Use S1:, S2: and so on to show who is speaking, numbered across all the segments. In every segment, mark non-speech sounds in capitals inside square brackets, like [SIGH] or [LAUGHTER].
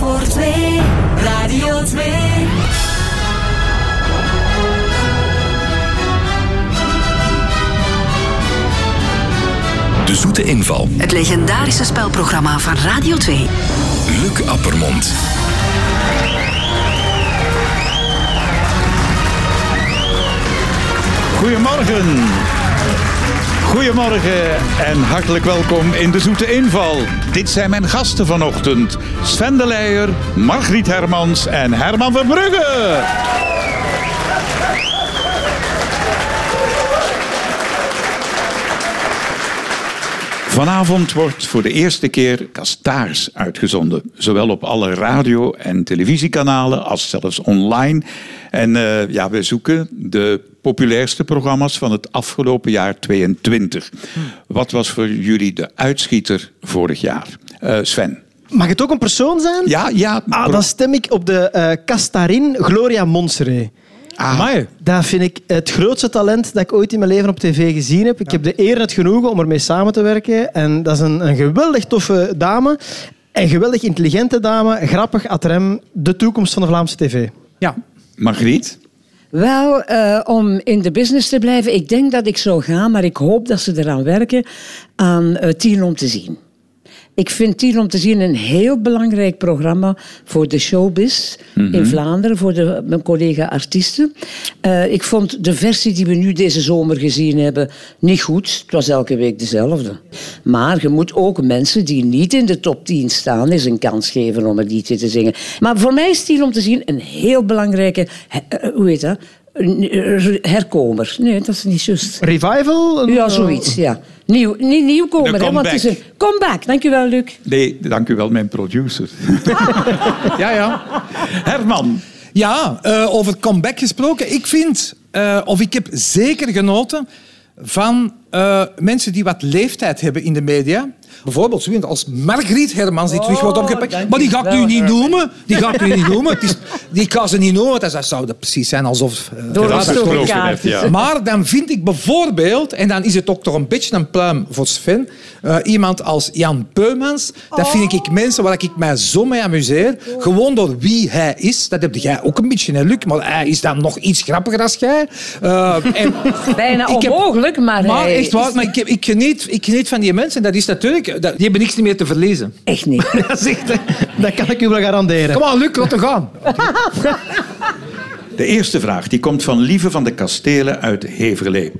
S1: voor twee. Radio 2.
S2: De zoete inval.
S3: Het legendarische spelprogramma van Radio 2.
S2: Luc Appermond.
S4: Goedemorgen. Goedemorgen en hartelijk welkom in de Zoete Inval. Dit zijn mijn gasten vanochtend. Sven de Leijer, Margriet Hermans en Herman Verbrugge. Vanavond wordt voor de eerste keer Kastaars uitgezonden. Zowel op alle radio- en televisiekanalen als zelfs online. En eh, ja, we zoeken de populairste programma's van het afgelopen jaar 22. Wat was voor jullie de uitschieter vorig jaar? Eh, Sven.
S5: Mag het ook een persoon zijn?
S4: Ja, ja.
S5: Ah, dan stem ik op de eh Castarin Gloria Monseré.
S4: Amai.
S5: Dat vind ik het grootste talent dat ik ooit in mijn leven op tv gezien heb. Ik heb de eer en het genoegen om ermee samen te werken. En dat is een, een geweldig toffe dame. Een geweldig intelligente dame. Grappig, atrem. De toekomst van de Vlaamse tv.
S6: Ja.
S4: Margriet?
S7: Wel, eh, om in de business te blijven, ik denk dat ik zou gaan, maar ik hoop dat ze eraan werken, aan eh, Tien om te zien. Ik vind Tien om te zien een heel belangrijk programma voor de showbiz
S4: Mhm.
S7: in Vlaanderen, voor de, mijn collega-artiesten. Eh, ik vond de versie die we nu deze zomer gezien hebben niet goed. Het was elke week dezelfde. Maar je moet ook mensen die niet in de top 10 staan, eens een kans geven om het liedje te zingen. Maar voor mij is Tien om te zien een heel belangrijke, eh, hoe heet dat? Een, eh, Herkomer. Nee, dat is niet juist.
S5: Revival? Een-
S7: Ja, zoiets, ja. Nieuw, niet nieuwkomer,
S4: De
S7: hè, want het is een
S4: comeback.
S7: comeback. Dankjewel, Luc.
S4: Nee, dank u wel, mijn producer.
S6: Ja, ja.
S4: Herman.
S6: Ja, eh, over comeback gesproken. Ik vind, eh, of ik heb zeker genoten van eh, mensen die wat leeftijd hebben in de media. Bijvoorbeeld zo iemand als Margriet Hermans, die terug wordt opgepakt. Maar die ga ik nu niet noemen. Die ga ik nu niet noemen. Het is, die kan ze niet noemen, want dat zou dat precies zijn alsof... eh,
S7: Door
S4: Dat
S7: ons
S4: is gesproken werd, ja.
S6: Maar dan vind ik bijvoorbeeld, en dan is het ook toch een beetje een pluim voor Sven, eh, iemand als Jan Peumans. Dat vind ik mensen waar ik mij zo mee amuseer. Gewoon door wie hij is. Dat heb jij ook een beetje, hè, Luc. Maar hij is dan nog iets grappiger als jij. Eh, [LAUGHS] en
S7: Bijna
S6: ik heb-
S7: onmogelijk, maar,
S6: maar
S7: hij
S6: echt
S7: is-
S6: waar, maar ik, heb- ik, geniet, ik geniet van die mensen. Dat is natuurlijk... dat- die hebben niks meer te verliezen.
S7: Echt
S4: [LAUGHS]
S7: niet.
S6: [LAUGHS] Dat is echt...
S5: eh, Dat kan ik u wel garanderen.
S6: Kom aan, Luc, laat het gaan.
S4: De eerste vraag die komt van Lieve van de Kastelen uit Heverlee.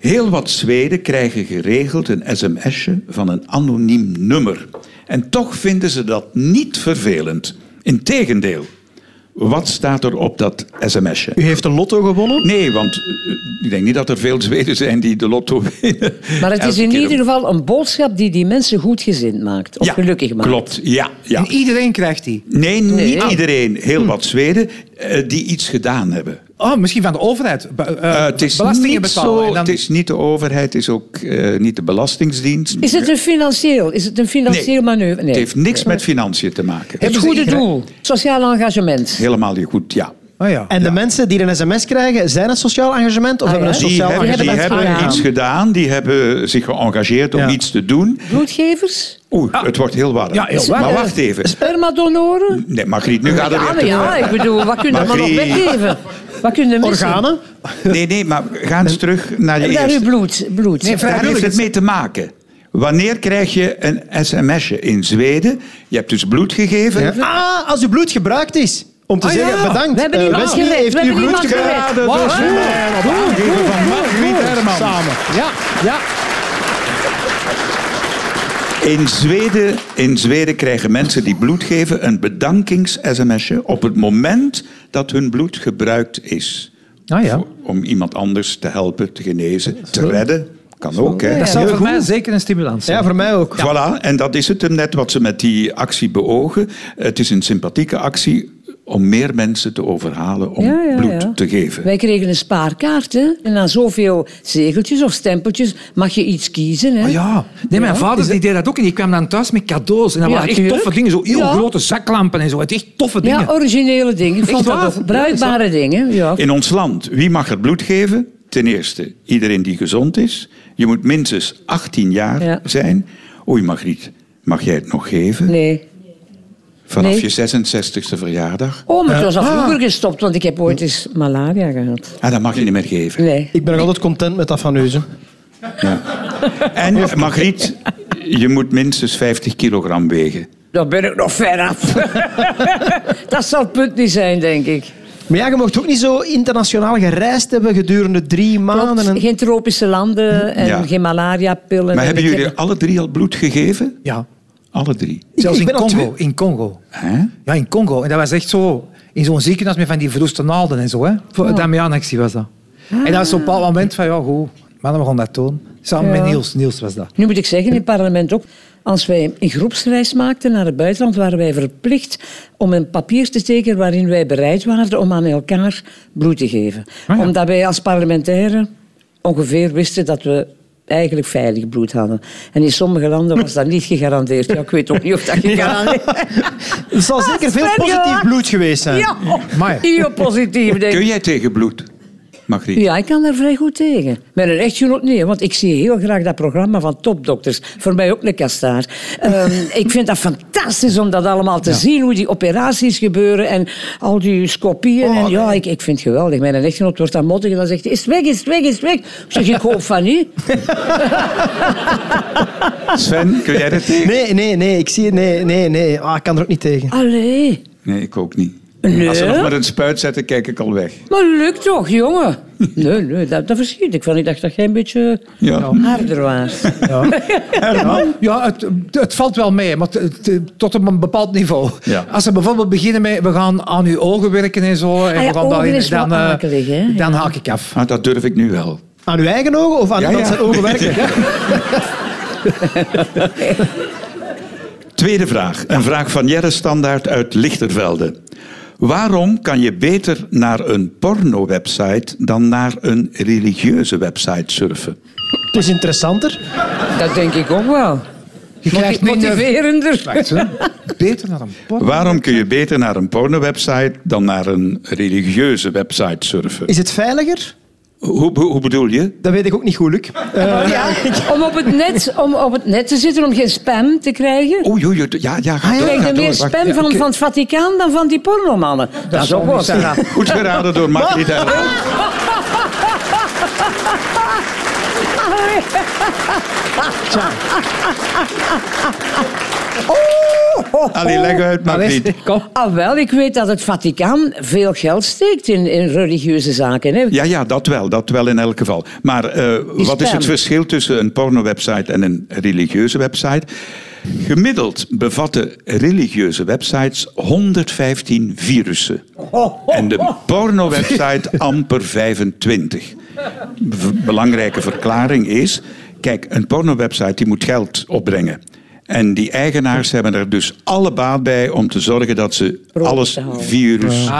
S4: Heel wat Zweden krijgen geregeld een sms'je van een anoniem nummer. En toch vinden ze dat niet vervelend. Integendeel. Wat staat er op dat sms'je?
S5: U heeft de lotto gewonnen.
S4: Nee, want eh, ik denk niet dat er veel Zweden zijn die de lotto winnen.
S7: Maar het is
S4: Elke
S7: in
S4: keer
S7: ieder geval een boodschap die die mensen goed gezind maakt. Of
S4: Ja,
S7: gelukkig maakt.
S4: Klopt, ja. ja.
S6: [LAUGHS] En iedereen krijgt die.
S4: Nee, niet
S7: Nee.
S4: iedereen. Heel wat Zweden eh, die iets gedaan hebben.
S6: Oh, misschien van de overheid. Be- eh,
S4: Eh, het, is
S6: belastingen
S4: niet
S6: betalen.
S4: zo,
S6: en dan-
S4: het is niet de overheid, het is ook eh, niet de Belastingdienst.
S7: Is het een financieel, is het een financieel
S4: Nee.
S7: manoeuvre? Nee.
S4: Het heeft niks met financiën te maken.
S7: Het goede doel. Sociaal engagement.
S4: Helemaal niet goed, ja.
S6: Oh ja.
S5: En de mensen die een sms krijgen, zijn een sociaal engagement of
S7: Ah,
S5: hebben
S7: ja.
S5: een
S4: Die
S5: sociaal
S4: hebben, die
S5: engagement?
S7: hebben
S4: hebben
S7: het gedaan.
S4: iets gedaan, die hebben zich geëngageerd om
S5: Ja.
S4: iets te doen.
S7: Bloedgevers?
S4: Oeh, het wordt heel warm.
S6: Ja, heel warm.
S4: Oh, Maar wacht even.
S7: Spermadonoren?
S4: Nee, Margriet, nu gaat het
S7: Ja,
S4: weer
S7: maar
S4: te
S7: ja, ik bedoel, wat kun je maar nog
S4: Margriet.
S7: weggeven? Wat kun je missen?
S5: Organen?
S4: Nee, nee, maar ga eens terug naar je
S7: Daar uw
S4: eerste.
S7: bloed. bloed.
S4: Daar heeft het mee te maken. Wanneer krijg je een sms'je in Zweden? Je hebt dus bloed gegeven.
S5: Ah, als uw bloed gebruikt is. Om te
S6: Ah,
S5: zeggen,
S6: ja.
S5: bedankt.
S7: We hebben
S5: eh,
S7: iemand
S5: Wesley
S7: gered.
S5: heeft
S7: We
S5: uw
S7: hebben
S5: bloed
S7: iemand
S5: gebruikt.
S7: gered.
S4: Geraden door
S6: Wow.
S4: Sven op aangeven van Margriet Hermans.
S6: Ja, ja.
S4: In Zweden, in Zweden krijgen mensen die bloed geven een bedankings-sms'je op het moment dat hun bloed gebruikt is.
S6: Ah, ja.
S4: Om iemand anders te helpen, te genezen, te redden. Kan ook, hè?
S6: Dat zou
S5: heel
S6: voor
S5: goed.
S6: mij zeker een stimulans zijn.
S5: Ja, voor mij ook.
S4: Voilà, en dat is het hem net wat ze met die actie beogen. Het is een sympathieke actie om meer mensen te overhalen om
S7: Ja, ja,
S4: bloed
S7: ja.
S4: te geven.
S7: Wij kregen een spaarkaart, hè. En na zoveel zegeltjes of stempeltjes mag je iets kiezen, hè.
S6: Ah, ja. Nee, mijn
S7: Ja.
S6: vader die deed dat ook en die kwam dan thuis met cadeaus. En dat
S7: Ja,
S6: waren echt
S7: tuurlijk.
S6: toffe dingen, zo heel
S7: Ja.
S6: grote zaklampen en zo. Het echt toffe dingen.
S7: Ja, oh. originele dingen. Ik vond
S6: Echt waar?
S7: dat ook bruikbare dingen. Ja.
S4: In ons land, wie mag er bloed geven? Ten eerste, iedereen die gezond is. Je moet minstens 18 jaar
S7: Ja.
S4: zijn. Oei, Margriet, mag jij het nog geven?
S7: Nee.
S4: Vanaf
S7: Nee.
S4: je 66e verjaardag.
S7: Oh, maar het was al vroeger gestopt, want ik heb ooit eens malaria gehad.
S4: Ah, dat mag je niet meer geven.
S7: Nee.
S5: Ik ben nog altijd content met dat van Neuzen.
S4: En Margriet, je moet minstens 50 kilogram wegen.
S7: Daar ben ik nog ver af. [LAUGHS] dat zal het punt niet zijn, denk ik.
S5: Maar ja, je mocht ook niet zo internationaal gereisd hebben gedurende drie maanden.
S7: Klopt,
S5: En...
S7: geen tropische landen en
S4: Ja.
S7: geen malaria-pillen.
S4: Maar hebben
S7: En ik
S4: jullie
S7: heb-
S4: alle drie al bloed gegeven?
S6: Ja,
S4: Alle drie.
S6: zelfs
S5: ik
S6: in
S5: ben al
S6: Congo. In Congo.
S4: Hè?
S6: Ja, in Congo. En dat was echt zo... In zo'n ziekenhuis met van die verroeste naalden en zo. Hè. Voor oh. Damianactie was dat. En dat was op een bepaald moment van... Ja, goed. Mannen, we gaan dat doen. Samen
S7: Ja.
S6: met Niels. Niels was dat.
S7: Nu moet ik zeggen, in het parlement ook. Als wij een groepsreis maakten naar het buitenland, waren wij verplicht om een papier te tekenen waarin wij bereid waren om aan elkaar bloed te geven.
S6: Ah, ja.
S7: Omdat wij als parlementairen ongeveer wisten dat we eigenlijk veilig bloed hadden. En in sommige landen was dat niet gegarandeerd. Ja, ik weet ook niet
S5: [LAUGHS]
S7: of dat gegarandeerd
S5: Er zal zeker veel
S7: Sven,
S5: positief
S7: ja.
S5: bloed geweest zijn.
S7: Ah, Ja,
S6: Amai.
S7: heel positief, denk ik.
S4: Kun jij tegen bloed, Margriet?
S7: Ja, ik kan daar vrij goed tegen. Met een echtgenoot niet, want ik zie heel graag dat programma van topdokters. Voor mij ook een kastaar. Ehm,
S4: [LAUGHS]
S7: ik vind dat fantastisch om dat allemaal te zien, hoe die operaties gebeuren en al die scopieën.
S4: Oh,
S7: en ja, ik, ik vind het geweldig. Mijn echtgenoot wordt dan mottig en dan zegt hij, is het weg, is het weg, is het weg. Ik zeg, ik hoop van
S4: [LAUGHS]
S7: niet.
S4: Sven, kun jij dat tegen?
S5: Nee, nee, nee. Ik zie Nee, nee, nee. Ah, ik kan er ook niet tegen.
S7: Allee,
S4: Nee, ik ook niet.
S7: Nee.
S4: Als ze nog maar een spuit zetten, kijk ik al weg.
S7: maar lukt toch, jongen? Nee, nee, dat, dat verschiet ik van. Ik dacht dat jij een beetje
S4: Ja.
S7: harder was.
S6: Ja, het, het valt wel mee, maar t- t- tot op een bepaald niveau.
S4: Ja.
S6: Als ze bijvoorbeeld beginnen met we gaan aan uw ogen werken en zo, en
S7: Ah ja,
S6: we gaan
S7: ogen
S6: daarin-
S7: is wel
S6: dan, eh,
S7: akelig, hè?
S6: dan haak ik af.
S4: Ah, dat durf ik nu wel.
S5: Aan uw eigen ogen of aan
S4: Ja,
S5: iemand
S4: ja.
S5: zijn ogen
S4: [LAUGHS]
S5: werken?
S4: Tweede vraag. Een vraag van Jerre Standaard uit Lichtervelde. Waarom kan je beter naar een porno-website dan naar een religieuze website surfen?
S5: Het is interessanter.
S7: Dat denk ik ook wel.
S6: Je krijgt minder-
S7: Motiverender.
S6: Wacht,
S7: [LAUGHS]
S6: hè. Beter naar een porno.
S4: Waarom kun je beter naar een porno-website dan naar een religieuze website surfen?
S5: Is het veiliger?
S4: Hoe, hoe, hoe bedoel je?
S5: Dat weet ik ook niet goed, Luc. Eh,
S7: [LAUGHS] Om op, het net, om op het net te zitten, om geen spam te krijgen.
S4: Oei, oei, oei, ja, Oh, ja, ga
S7: Je
S4: door,
S7: krijgt
S4: ga
S7: er
S4: door,
S7: meer
S4: wacht.
S7: spam van, van het Vaticaan dan van die pornomannen. Dat, is ook wel straf.
S4: Goed geraden door Margriet Herlens.
S7: Oh,
S4: Allee, leg uit,
S6: Nou,
S4: Margriet.
S7: [LAUGHS] Ah, wel, ik weet dat het Vaticaan veel geld steekt in, in religieuze zaken. Hè.
S4: Ja, ja, dat wel. Dat wel in elk geval. Maar eh, wat is
S7: spam.
S4: het verschil tussen een porno-website en een religieuze website? Gemiddeld bevatten religieuze websites 115 virussen.
S7: Oh,
S4: En de
S7: [LAUGHS]
S4: porno-website amper 25. V- belangrijke verklaring is... Kijk, een porno-website die moet geld opbrengen. En die eigenaars hebben er dus alle baat bij om te zorgen dat ze
S7: Proper
S4: alles
S7: te houden.
S4: virusvrij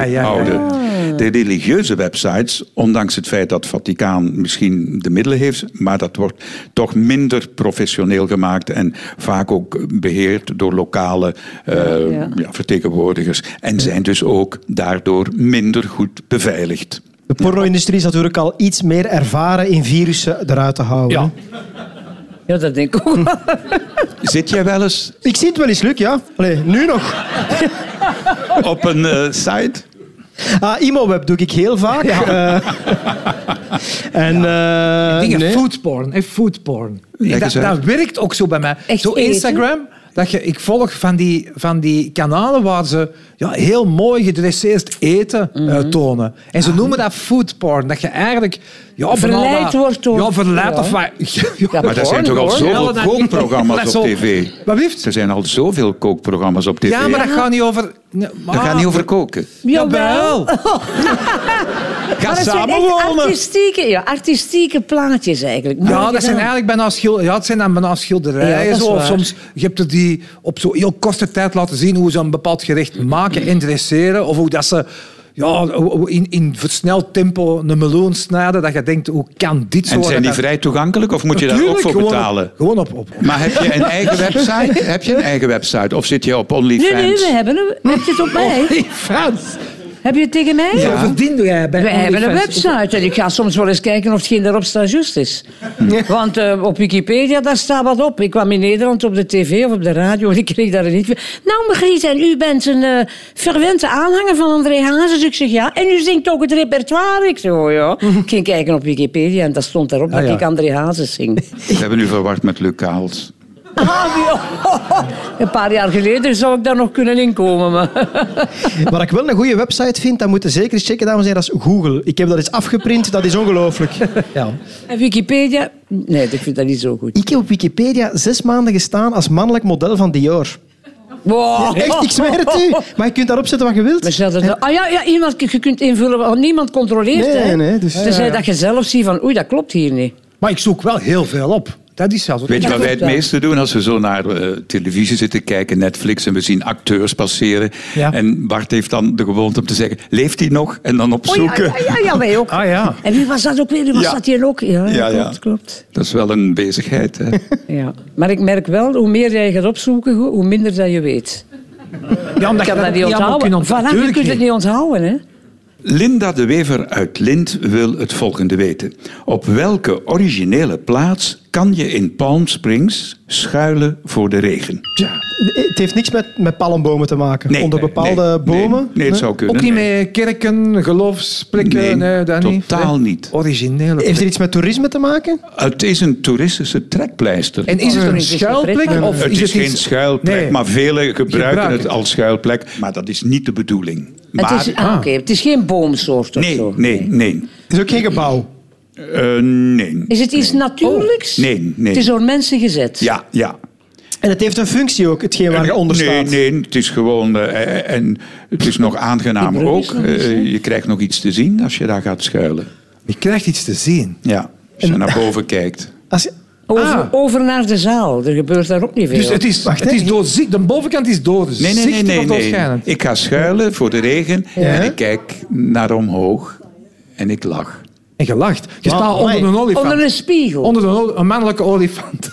S6: Ah, ja, Ah. ja, ja, ja.
S4: houden. De religieuze websites, ondanks het feit dat het Vaticaan misschien de middelen heeft, maar dat wordt toch minder professioneel gemaakt en vaak ook beheerd door lokale eh,
S7: ja.
S4: ja, vertegenwoordigers. En zijn dus ook daardoor minder goed beveiligd.
S5: De porno-industrie is natuurlijk al iets meer ervaren in virussen eruit te houden.
S6: Ja.
S7: Ja, dat denk ik ook wel.
S4: Zit jij wel eens
S5: Ik zie het wel eens, Luc, ja. Allee, nu nog.
S4: op een eh, site?
S5: Ah, Imoweb doe ik heel vaak.
S4: [LAUGHS]
S5: Eh, en, eh,
S6: Dingen,
S5: nee.
S6: foodporn, hè, foodporn.
S4: Leg
S6: Dat,
S4: eens uit.
S6: dat werkt ook zo bij mij.
S7: Echt
S6: zo
S7: eten?
S6: Instagram, dat je, ik volg van die, van die kanalen waar ze ja, heel mooi gedresseerd eten eh,
S4: Mhm.
S6: tonen. En
S4: Ah.
S6: ze noemen dat foodporn. Dat je eigenlijk... Ja,
S7: Verleid
S6: van alle-
S7: wordt door-
S6: Ja, verleid
S7: ja.
S6: of wat... [LAUGHS] Ja,
S4: Maar er zijn toch al
S7: hoor.
S4: zoveel
S6: Ja, dat- [LAUGHS]
S4: kookprogramma's
S6: dat
S4: op
S6: zo-
S4: tv?
S6: Wat heeft?
S4: Er zijn al zoveel kookprogramma's op tv.
S6: Ja, maar dat gaat niet over... Nee, maar-
S4: Dat gaat niet over koken.
S6: [LAUGHS]
S7: Jawel.
S4: Ga
S7: Maar dat zijn echt artistieke, ja, artistieke plaatjes eigenlijk.
S6: Ja,
S7: Mooi
S6: dat zijn
S7: gedaan.
S6: eigenlijk bijna schilderijen. Ja, het zijn dan bijna schilderijen.
S7: Ah, Ja, dat is
S6: zo. Of
S7: waar.
S6: soms, je hebt er die op zo heel korte tijd laten zien hoe ze een bepaald gerecht maken en dresseren. Of hoe dat ze ja, hoe- hoe in, in versneld tempo een meloen snijden. Dat je denkt, hoe kan dit zo
S4: En zijn die
S6: Dat-
S4: vrij toegankelijk of moet je daar ook
S6: Tuurlijk,
S4: voor
S6: gewoon op-
S4: betalen?
S6: Gewoon op, op, op.
S4: Maar heb je een eigen website? Heb je een eigen website? Of zit je op
S7: Nee,
S4: OnlyFans?
S5: [LAUGHS]
S7: nee, we hebben hem. Heb je het op mij?
S6: Frans.
S7: Heb je het tegen mij?
S6: Zo verdiende jij bij
S7: We hebben een
S6: OnlyFans.
S7: website en ik ga soms wel eens kijken of hetgeen daarop staat juist is. Want eh, op Wikipedia, daar staat wat op. Ik kwam in Nederland op de tv of op de radio en ik kreeg daar een interview. Nou, Margriet, en u bent een eh verwente aanhanger van André Hazes. Dus Ik zeg ja. En u zingt ook het repertoire. Ik zeg oh ja. Ik ging kijken op Wikipedia en daar stond daarop
S5: Ah,
S7: dat
S6: ja.
S7: ik André Hazes zing. [LAUGHS]
S4: We hebben u verward met Luc Kaals.
S7: Ah, wie- [LAUGHS] een paar jaar geleden zou ik daar nog kunnen inkomen. Maar... [LAUGHS]
S5: Wat ik wel een goede website vind, dat moeten zeker eens checken, dames en heren, dat is Google. Ik heb dat eens afgeprint, dat is
S4: [LAUGHS]
S5: ongelooflijk.
S6: Ja.
S7: En Wikipedia? Nee, ik vind dat niet zo goed.
S5: Ik heb op Wikipedia zes maanden gestaan als mannelijk model van Dior.
S4: Oh.
S7: Wow.
S5: Echt, ik zweer het
S7: [LAUGHS]
S5: u. Maar je kunt daarop zetten wat je wilt.
S7: Maar stel dat er- ah ja, ja, iemand, je kunt invullen, want niemand controleert.
S5: Nee,
S7: hè.
S5: nee, dus-
S7: Tenzij dat je zelf ziet van, oei, dat klopt hier niet.
S6: Maar ik zoek wel heel veel op. Dat is zelfs wat
S4: Weet je
S7: Ja,
S4: wat wij het
S7: klopt wel.
S4: meeste doen als we zo naar eh, televisie zitten kijken, Netflix, en we zien acteurs passeren.
S6: Ja.
S4: En Bart heeft dan de gewoonte om te zeggen, leeft hij nog? En dan
S7: Oei, Oh ja,
S4: opzoeken.
S7: ja, ja, ja, wij ook.
S6: Ah ja.
S7: En wie was dat ook weer? Wie was
S4: Ja.
S7: dat hier ook? Ja,
S4: Ja, ja.
S7: klopt, klopt.
S4: Dat is wel een bezigheid. Hè?
S7: Ja. Maar ik merk wel, hoe meer jij gaat opzoeken, hoe hoe minder dat je weet.
S6: Ja, omdat
S7: Ik kan
S6: je
S7: dat niet
S6: allemaal
S7: onthouden.
S6: kunt onthouden.
S7: Voilà, je
S6: Tuurlijk
S7: kunt het
S6: niet.
S7: niet onthouden, hè.
S4: Linda de Wever uit Lint wil het volgende weten. Op welke originele plaats kan je in Palm Springs schuilen voor de regen? Tja.
S5: Het heeft niks met, met palmbomen te maken. Onder
S4: nee, eh,
S5: bepaalde
S4: nee,
S5: bomen.
S4: Nee, nee, het zou kunnen.
S6: Ook niet
S4: nee.
S6: met kerken, geloofsplekken.
S4: Nee,
S6: Nee, dat
S4: totaal
S6: niet.
S4: niet.
S6: Originele.
S5: Heeft er iets met toerisme te maken?
S4: Het is een toeristische trekpleister.
S6: En is het
S7: Het
S6: een
S7: is geen
S6: schuilplek?
S7: pret.
S6: Of
S4: het is,
S6: iets-
S4: geen schuilplek,
S6: Nee.
S4: maar velen gebruiken
S6: Gebruiken.
S4: het als schuilplek. Maar dat is niet de bedoeling. Maar,
S7: Het is, ah, oké, het is geen boomsoort of
S4: nee,
S7: zo.
S4: nee, nee.
S5: Het is ook geen gebouw.
S4: Eh, nee.
S7: Is het iets natuurlijks?
S4: Oh, nee, nee.
S7: Het is door mensen gezet.
S4: Ja, ja.
S5: En het heeft een functie ook, hetgeen waar je onder
S4: nee,
S5: staat.
S4: nee, het is gewoon... eh, en het is nog aangenamer
S7: Die brug
S4: ook.
S7: is nog eens, hè?
S4: Eh, je krijgt nog iets te zien als je daar gaat schuilen.
S6: Je krijgt iets te zien.
S4: Ja, als je naar boven kijkt.
S5: Als je-
S7: Over,
S6: Ah.
S7: over naar de zaal. Er gebeurt daar ook niet veel.
S6: Dus het is,
S5: Wacht,
S6: het
S5: hè?
S6: is doorzicht. De bovenkant is
S4: Nee,
S6: doorzichtig
S4: nee, nee, nee,
S6: of
S4: nee.
S6: doorschijnend.
S4: Ik ga schuilen voor de regen en ik kijk naar omhoog en ik lach.
S6: En gelacht. Je
S5: Maar,
S6: staat Oh, onder
S5: amai.
S6: een olifant.
S7: Onder een spiegel.
S6: Onder een, ol- een mannelijke olifant.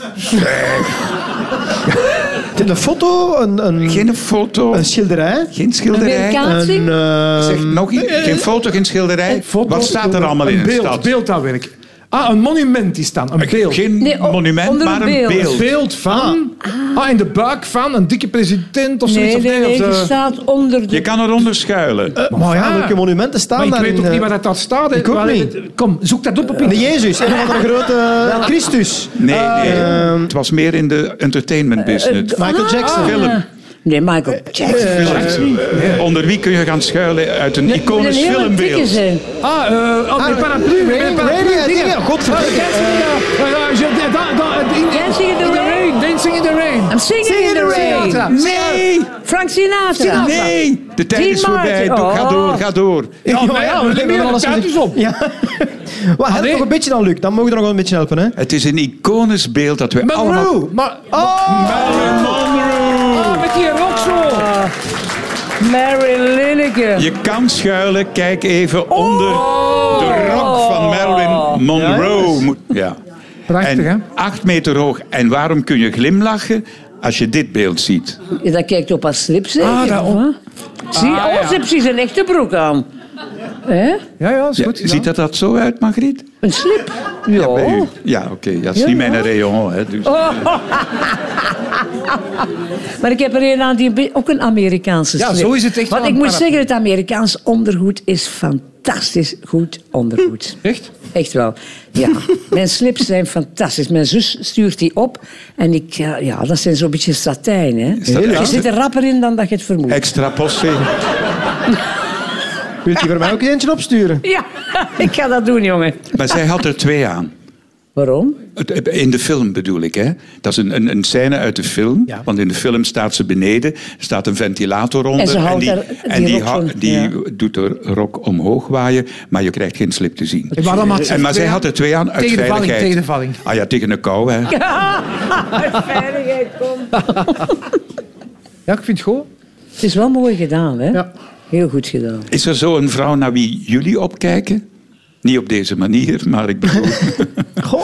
S5: een foto, een, een,
S4: Geen foto,
S5: een schilderij.
S4: geen schilderij.
S7: Een
S5: Een,
S7: Aanzien?
S5: eh,
S4: Zeg, nog i- geen foto, geen schilderij.
S6: Foto-
S4: Wat staat er allemaal
S6: een
S4: in de
S6: beeld,
S4: stad?
S6: Beeld aan werk. Ah, een monument is dan. Een beeld.
S4: Geen
S7: Nee, o-
S4: monument,
S7: onder
S4: maar
S7: een
S4: een
S7: beeld.
S6: Een
S4: beeld.
S6: beeld van. Ah. in de buik van een dikke president of zoiets.
S7: Nee,
S6: of
S7: nee,
S6: of
S7: nee,
S6: de-
S7: eh, je staat onder de...
S4: Je kan eronder schuilen.
S5: maar ja,
S6: Ah.
S5: welke monumenten staan
S6: Maar ik
S5: daar?
S6: weet
S5: in,
S6: ook niet
S5: eh,
S6: waar dat daar staat. hè.
S5: Ik ook
S6: Waar-
S5: niet.
S6: Kom, zoek dat op op
S5: De
S6: internet.
S5: Jezus, een van de grote Christus.
S4: Nee, nee.
S6: ehm,
S5: Eh,
S4: het was meer in de
S7: Eh,
S4: entertainment business.
S5: Michael Jackson.
S4: Film.
S7: Ah. Nee, Michael Jackson.
S4: Eh, Onder wie kun je gaan schuilen uit een
S7: Moet een
S4: iconisch
S7: hele dikke
S4: filmbeeld?
S7: zijn.
S6: Ah, eh onder de paraplu.
S5: nee,
S6: eh,
S5: nee,
S6: paraplu
S5: nee,
S6: dingen.
S5: dingen, godverdomme.
S6: Ah, dancing in the- eh, eh, je- eh, da- da- eh, in-
S7: Dancing in the rain.
S6: Dancing in the rain.
S7: I'm singing in the rain.
S6: Sinatra.
S4: Nee,
S7: Frank Sinatra.
S4: nee. De tijd
S7: Dean
S4: is voorbij.
S7: Martin.
S4: Doe- Ga
S7: Oh.
S4: door, ga door.
S6: Ja, maar ja, we hebben alles
S5: gezien.
S6: tijd dus op.
S5: Ja. [LAUGHS] Wat, help
S6: Allee.
S5: nog een beetje dan, Luc. Dan mogen we nog wel een beetje helpen. Hè?
S4: Het is een iconisch beeld dat we allemaal...
S6: Monroe. Maar,
S4: Marilyn Monroe.
S6: Ah, met die rok zo.
S7: Mary Lineker.
S4: Je kan schuilen. Kijk even onder
S6: Oh.
S4: de rok van
S7: Oh.
S4: Marilyn Monroe. Moet- Ja.
S6: Prachtig, hè?
S4: en acht meter hoog. En waarom kun je glimlachen als je dit beeld ziet?
S7: Ja, Dat kijkt op haar slip zeker.
S6: Ah, dat
S7: of wat? Zie,
S6: Ah,
S7: oh,
S6: ja.
S7: ze heeft precies een echte broek aan. Hè?
S6: Ja, ja, Oh. is
S4: Ja,
S6: goed.
S4: ziet dat dat zo uit, Margriet?
S7: Een slip. Ja.
S4: Bij u? Ja, oké. Ja, dat is
S7: Ja,
S4: niet
S7: ja.
S4: mijn rayon. Hè, dus.
S6: Oh.
S7: Maar ik heb er een aan die een be- ook een Amerikaanse
S6: Ja,
S7: slip.
S6: zo is het echt
S7: Want
S6: wel
S7: ik
S6: een
S7: moet
S6: paraplu.
S7: zeggen, het Amerikaans ondergoed is fantastisch goed ondergoed.
S6: Echt?
S7: Echt wel. Ja, [LAUGHS] mijn slips zijn fantastisch. Mijn zus stuurt die op en ik, ja, ja dat zijn zo'n beetje satijn. Hè?
S4: dat
S7: Je
S4: echt?
S7: zit er rapper in dan dat je het vermoedt.
S4: Extra postzegel.
S5: Wilt u voor mij ook eentje opsturen?
S7: Ja, [LAUGHS] ik ga dat doen, jongen.
S4: Maar zij had er twee aan.
S7: Waarom?
S4: Het- In de film bedoel ik, hè? Dat is een, een, een scène uit de film.
S6: Ja.
S4: Want in de film staat ze beneden, er staat een ventilator onder.
S7: En ze houdt
S4: die,
S7: haar- die
S4: en die,
S7: rok
S4: hou-
S7: zo,
S4: die
S7: ja.
S4: doet haar rok omhoog waaien, maar je krijgt geen slip te zien.
S6: En waarom had ze
S4: en, maar zij
S6: twee
S4: had
S6: aan?
S4: er twee aan uit
S6: Tegen de valling,
S4: veiligheid.
S6: tegen de valling.
S4: Ah ja, tegen de kou, hè?
S7: Veiligheid, kom.
S6: Ja, ik vind het goed.
S7: Het is wel mooi gedaan, hè?
S6: Ja.
S7: Heel goed gedaan.
S4: Is er zo een vrouw naar wie jullie opkijken? Niet op deze manier, maar ik bedoel...
S5: Goh.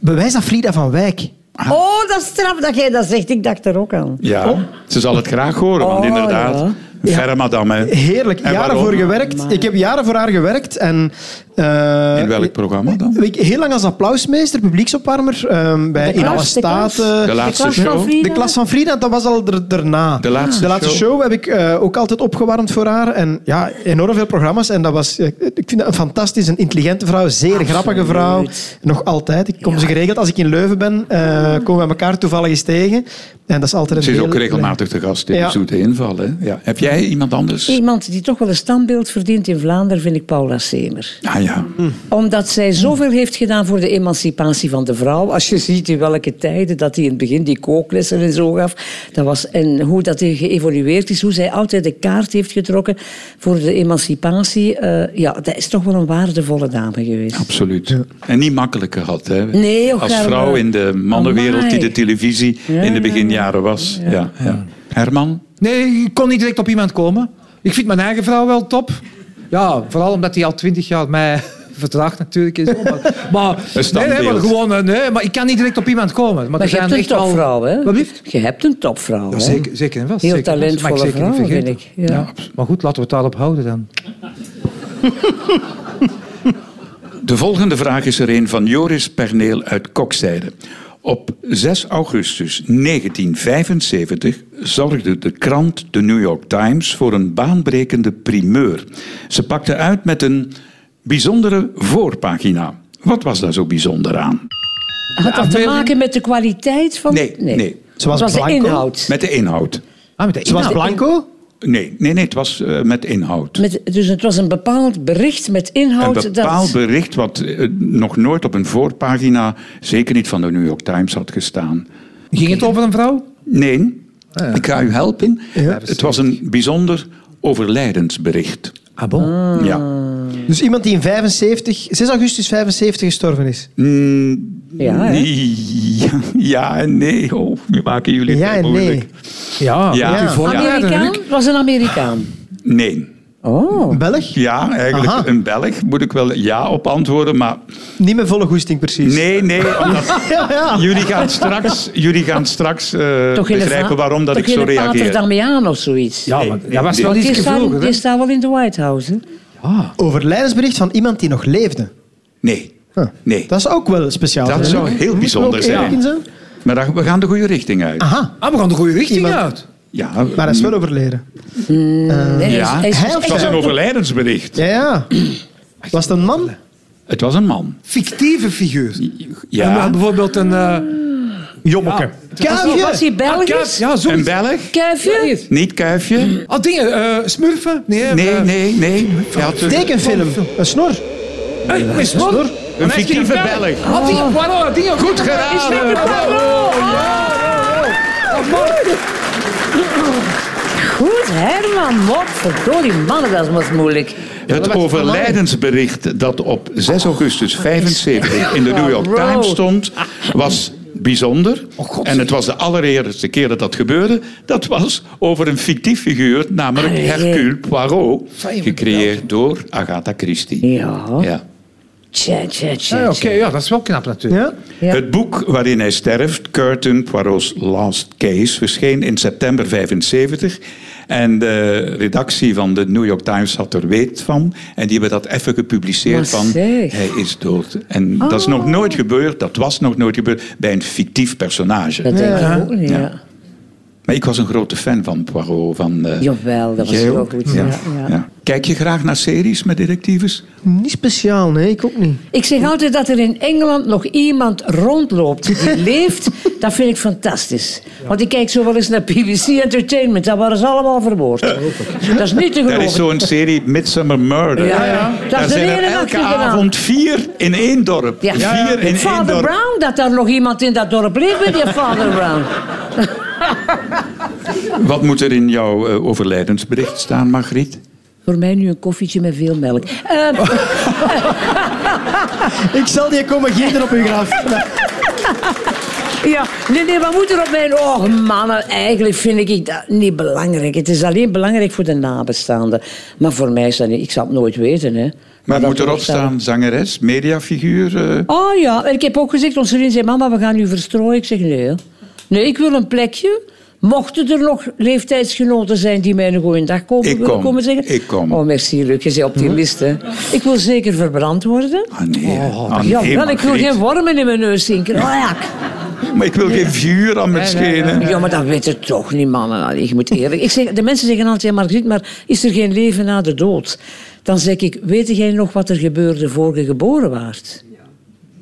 S5: Bewijs dat Frida van Wijk.
S7: Oh, dat is straf dat jij dat zegt. Ik dacht er ook aan.
S4: Ja, ze zal het graag horen, want
S7: Oh,
S4: inderdaad,
S7: ja.
S4: Verre madame, hè?
S5: Heerlijk.
S4: En
S5: jaren
S4: waarom?
S5: voor gewerkt.
S7: Maar-
S5: Ik heb jaren voor haar gewerkt. En, eh,
S4: In welk programma dan?
S5: ik- Heel lang als applausmeester, publieksopwarmer. ehm, bij In alle
S7: klas, de klas.
S5: Staten.
S4: De laatste
S7: klas van
S4: show.
S7: Frida.
S5: De klas van Frida, dat was al er- daarna.
S4: De laatste show.
S5: heb ik eh, ook altijd opgewarmd voor haar. En ja, enorm veel programma's. En dat was, eh, ik vind dat een fantastisch, een intelligente vrouw, zeer grappige vrouw. Nog altijd. Ik kom ze geregeld. Als ik in Leuven ben, eh, komen we elkaar toevallig eens tegen. En dat is altijd een
S4: Ze is
S5: heel-
S4: ook regelmatig te gast in
S5: Ja.
S4: de zoete inval. Hè? Ja. Heb jij iemand anders?
S7: Iemand die toch wel een standbeeld verdient in Vlaanderen vind ik Paula Semer.
S4: Ah ja.
S7: Omdat zij zoveel heeft gedaan voor de emancipatie van de vrouw. Als je ziet in welke tijden dat hij in het begin die kooklessen en zo gaf. Dat was, en hoe dat hij geëvolueerd is. Hoe zij altijd de kaart heeft getrokken voor de emancipatie. eh, ja, dat is toch wel een waardevolle dame geweest.
S4: Absoluut. En niet makkelijk gehad, hè?
S7: Nee, och,
S4: Als
S7: Herman.
S4: vrouw in de mannenwereld die
S7: Amai.
S4: de televisie in de beginjaren was. Ja, ja. Herman?
S6: Nee, ik kon niet direct op iemand komen. Ik vind mijn eigen vrouw wel top. Ja, vooral omdat die al twintig jaar mij [LAUGHS] verdraagt natuurlijk. En zo, maar, maar,
S4: Een
S6: nee,
S4: standbeeld.
S6: nee, maar gewoon, eh, nee, maar ik kan niet direct op iemand komen. Maar,
S7: Maar
S6: er
S7: je
S6: zijn
S7: hebt een
S6: echt wel-
S7: topvrouw, hè?
S6: Wat lief?
S7: Je hebt een topvrouw,
S6: Ja,
S7: hè?
S6: zeker, zeker en vast.
S7: Heel
S6: zeker en vast. Mag
S7: talentvolle
S6: zeker niet
S7: vrouw, vind
S6: vergeten.
S7: ik. Ja.
S6: Maar goed, laten we het daarop houden dan.
S4: De volgende vraag is er een van Joris Perneel uit Kokzijde. Op 6 augustus 1975 zorgde de krant The New York Times voor een baanbrekende primeur. Ze pakte uit met een bijzondere voorpagina. Wat was daar zo bijzonder aan?
S7: Had dat te
S6: afbeelding?
S7: maken met de kwaliteit van...
S4: Nee, nee.
S5: Ze was
S7: Het was de
S5: blanco.
S7: inhoud.
S4: Met de inhoud.
S6: Ah, met de
S5: Ze was
S6: inhoud.
S5: blanco.
S4: Nee, nee, nee het was eh, met inhoud.
S7: Met, dus het was een bepaald bericht met
S4: Een
S7: inhoud.
S4: bepaald
S7: dat,
S4: bericht wat eh, nog nooit op een voorpagina, zeker niet van de New York Times, had gestaan.
S6: Ging het over een vrouw?
S4: Nee, ik ga u helpen. Het was een bijzonder overlijdensbericht.
S6: Ah, bon.
S4: Ja.
S5: Dus iemand die in 75, 6 augustus 75 gestorven is.
S7: ja, hè?
S4: Ja, ja en nee. Oh, nu maken jullie het
S5: Ja en
S4: moeilijk.
S5: nee.
S6: Ja,
S4: Ja.
S6: ja. voorbereiden,
S7: Amerikaan?
S6: Luc.
S7: was een Amerikaan.
S4: Nee.
S7: Oh.
S5: Belg?
S4: Ja, eigenlijk
S5: Aha.
S4: een Belg moet ik wel ja op antwoorden, maar
S5: Niet met volle goesting precies.
S4: nee, nee. omdat-
S5: [LAUGHS] Ja, ja.
S4: jullie gaan straks, jullie gaan straks eh,
S7: Toch in de
S4: begrijpen
S7: Va-
S4: waarom dat
S7: toch
S4: ik zo
S7: in de Pater
S4: reageer.
S7: Damiaan of zoiets.
S6: Ja, maar dat was wel
S7: Want
S6: iets
S7: je staat,
S6: vroeger.
S7: in,
S6: hè?
S7: je staat wel in de White House. hè?
S5: Overlijdensbericht van iemand die nog leefde.
S4: Nee.
S5: Huh.
S4: Nee.
S5: Dat is ook wel speciaal.
S4: Dat
S5: zijn,
S4: zou
S5: hè?
S4: heel
S5: Moet er
S4: bijzonder
S5: ook eerlijk
S4: zijn.
S5: in zijn.
S4: Maar daar- we gaan de goede richting uit.
S5: Aha,
S6: Ah, we gaan de goede richting
S5: Iemand-
S6: uit.
S4: Ja,
S5: maar hij is wel overleden.
S7: Nee, hij is-
S4: ja.
S7: hij is-
S5: Hij of
S4: het was een overlijdensbericht.
S5: Ja, ja. Was het een man?
S4: Het was een man.
S6: Fictieve figuur. En we
S4: Ja.
S6: hadden bijvoorbeeld een... eh,
S5: Jommeke.
S7: Was hij, was
S5: Kuifje.
S7: hij Belgisch?
S6: Ja, zo.
S4: Een Belg?
S7: Kuifje?
S4: Niet Kuifje?
S6: Ah, dingen. eh, smurfen? Nee,
S4: Nee,
S6: eh,
S4: nee, nee. Hij had een,
S5: Tekenfilm. Een snor.
S6: Hey, eh, Een snor.
S4: een fictieve Belg.
S6: Had die Poirot, die Oh. goed Oh,
S4: geraden.
S7: Goed, Herman. Wat verdorie mannen, dat was moeilijk.
S4: Het overlijdensbericht dat op 6 augustus 75 in de New York
S7: Wow.
S4: Times stond, was bijzonder. En het was de allereerste keer dat dat gebeurde. Dat was over een fictief figuur, namelijk
S7: Allee.
S4: Hercule Poirot, gecreëerd door Agatha Christie.
S7: Ja.
S4: Ja.
S7: Tja, tja, tja.
S6: Ja, Oké,
S7: tja.
S6: ja, dat is wel knap natuurlijk.
S5: Ja.
S7: Ja.
S4: Het boek waarin hij sterft, Curtin Poirot's Last Case, verscheen in september 75. En de redactie van de New York Times had er weet van. En die hebben dat even gepubliceerd
S7: Maar
S4: van,
S7: zeg. Oh.
S4: hij is dood. En dat is nog nooit gebeurd, dat was nog nooit gebeurd, bij een fictief personage.
S7: Dat denk ik ook niet, ja.
S4: Ja. Maar ik was een grote fan van Poirot. Van, eh,
S7: Jawel, dat was
S4: jij
S7: heel
S4: ook?
S7: goed, ja, ja.
S4: Kijk je graag naar series met detectives?
S5: Niet speciaal, nee, ik ook niet.
S7: Ik zeg altijd dat er in Engeland nog iemand rondloopt die leeft. Dat vind ik fantastisch. Want ik kijk zo wel eens naar BBC Entertainment. Dat waren ze allemaal vermoord. Dat is niet te geloven.
S4: Er is zo'n serie Midsummer Murder.
S7: Ja, ja. Dat
S4: Daar
S7: is de
S4: zijn er
S7: hele nacht
S4: elke
S7: mee gedaan.
S4: avond vier in één dorp.
S7: Ja.
S4: Vier in één
S7: Father
S4: dorp.
S7: Brown, dat daar nog iemand in dat dorp leeft met die
S4: [LAUGHS]
S7: Father Brown.
S4: Wat moet er in jouw eh, overlijdensbericht staan, Margriet?
S7: Voor mij nu een koffietje met veel melk. Eh,
S5: Ik zal die komen gieten op uw graf.
S7: [LAUGHS] ja, nee, nee, wat moet er op mijn... Oh, mannen, eigenlijk vind ik dat niet belangrijk. Het is alleen belangrijk voor de nabestaanden. Maar voor mij is dat niet... Ik zal het nooit weten, hè.
S4: Maar
S7: dat
S4: moet erop
S7: voorstel-
S4: staan zangeres, mediafiguur? eh,
S7: Oh ja, en ik heb ook gezegd, onze vriendin zei, mama, we gaan u verstrooien. Ik zeg, nee. hè. Nee, ik wil een plekje Mochten er nog leeftijdsgenoten zijn die mij een goeie dag komen,
S4: Ik
S7: willen
S4: kom.
S7: komen zeggen?
S4: Ik kom. Hm?
S7: Oh, merci, Luc. Je bent optimist, hè. Ik wil zeker verbrand worden.
S4: Ah nee, ah,
S7: Oh, ja,
S4: nee,
S7: wel, ik wil
S4: Margriet.
S7: geen wormen in mijn neus zinken. Oh, ja.
S4: Maar ik wil geen vuur aan mijn schenen.
S7: Ja, maar dat weten toch niet, mannen. Allee, je moet eerlijk... Ik zeg, de mensen zeggen altijd, ja, Margriet, maar is er geen leven na de dood? Dan zeg ik, weet jij nog wat er gebeurde voor je geboren waart?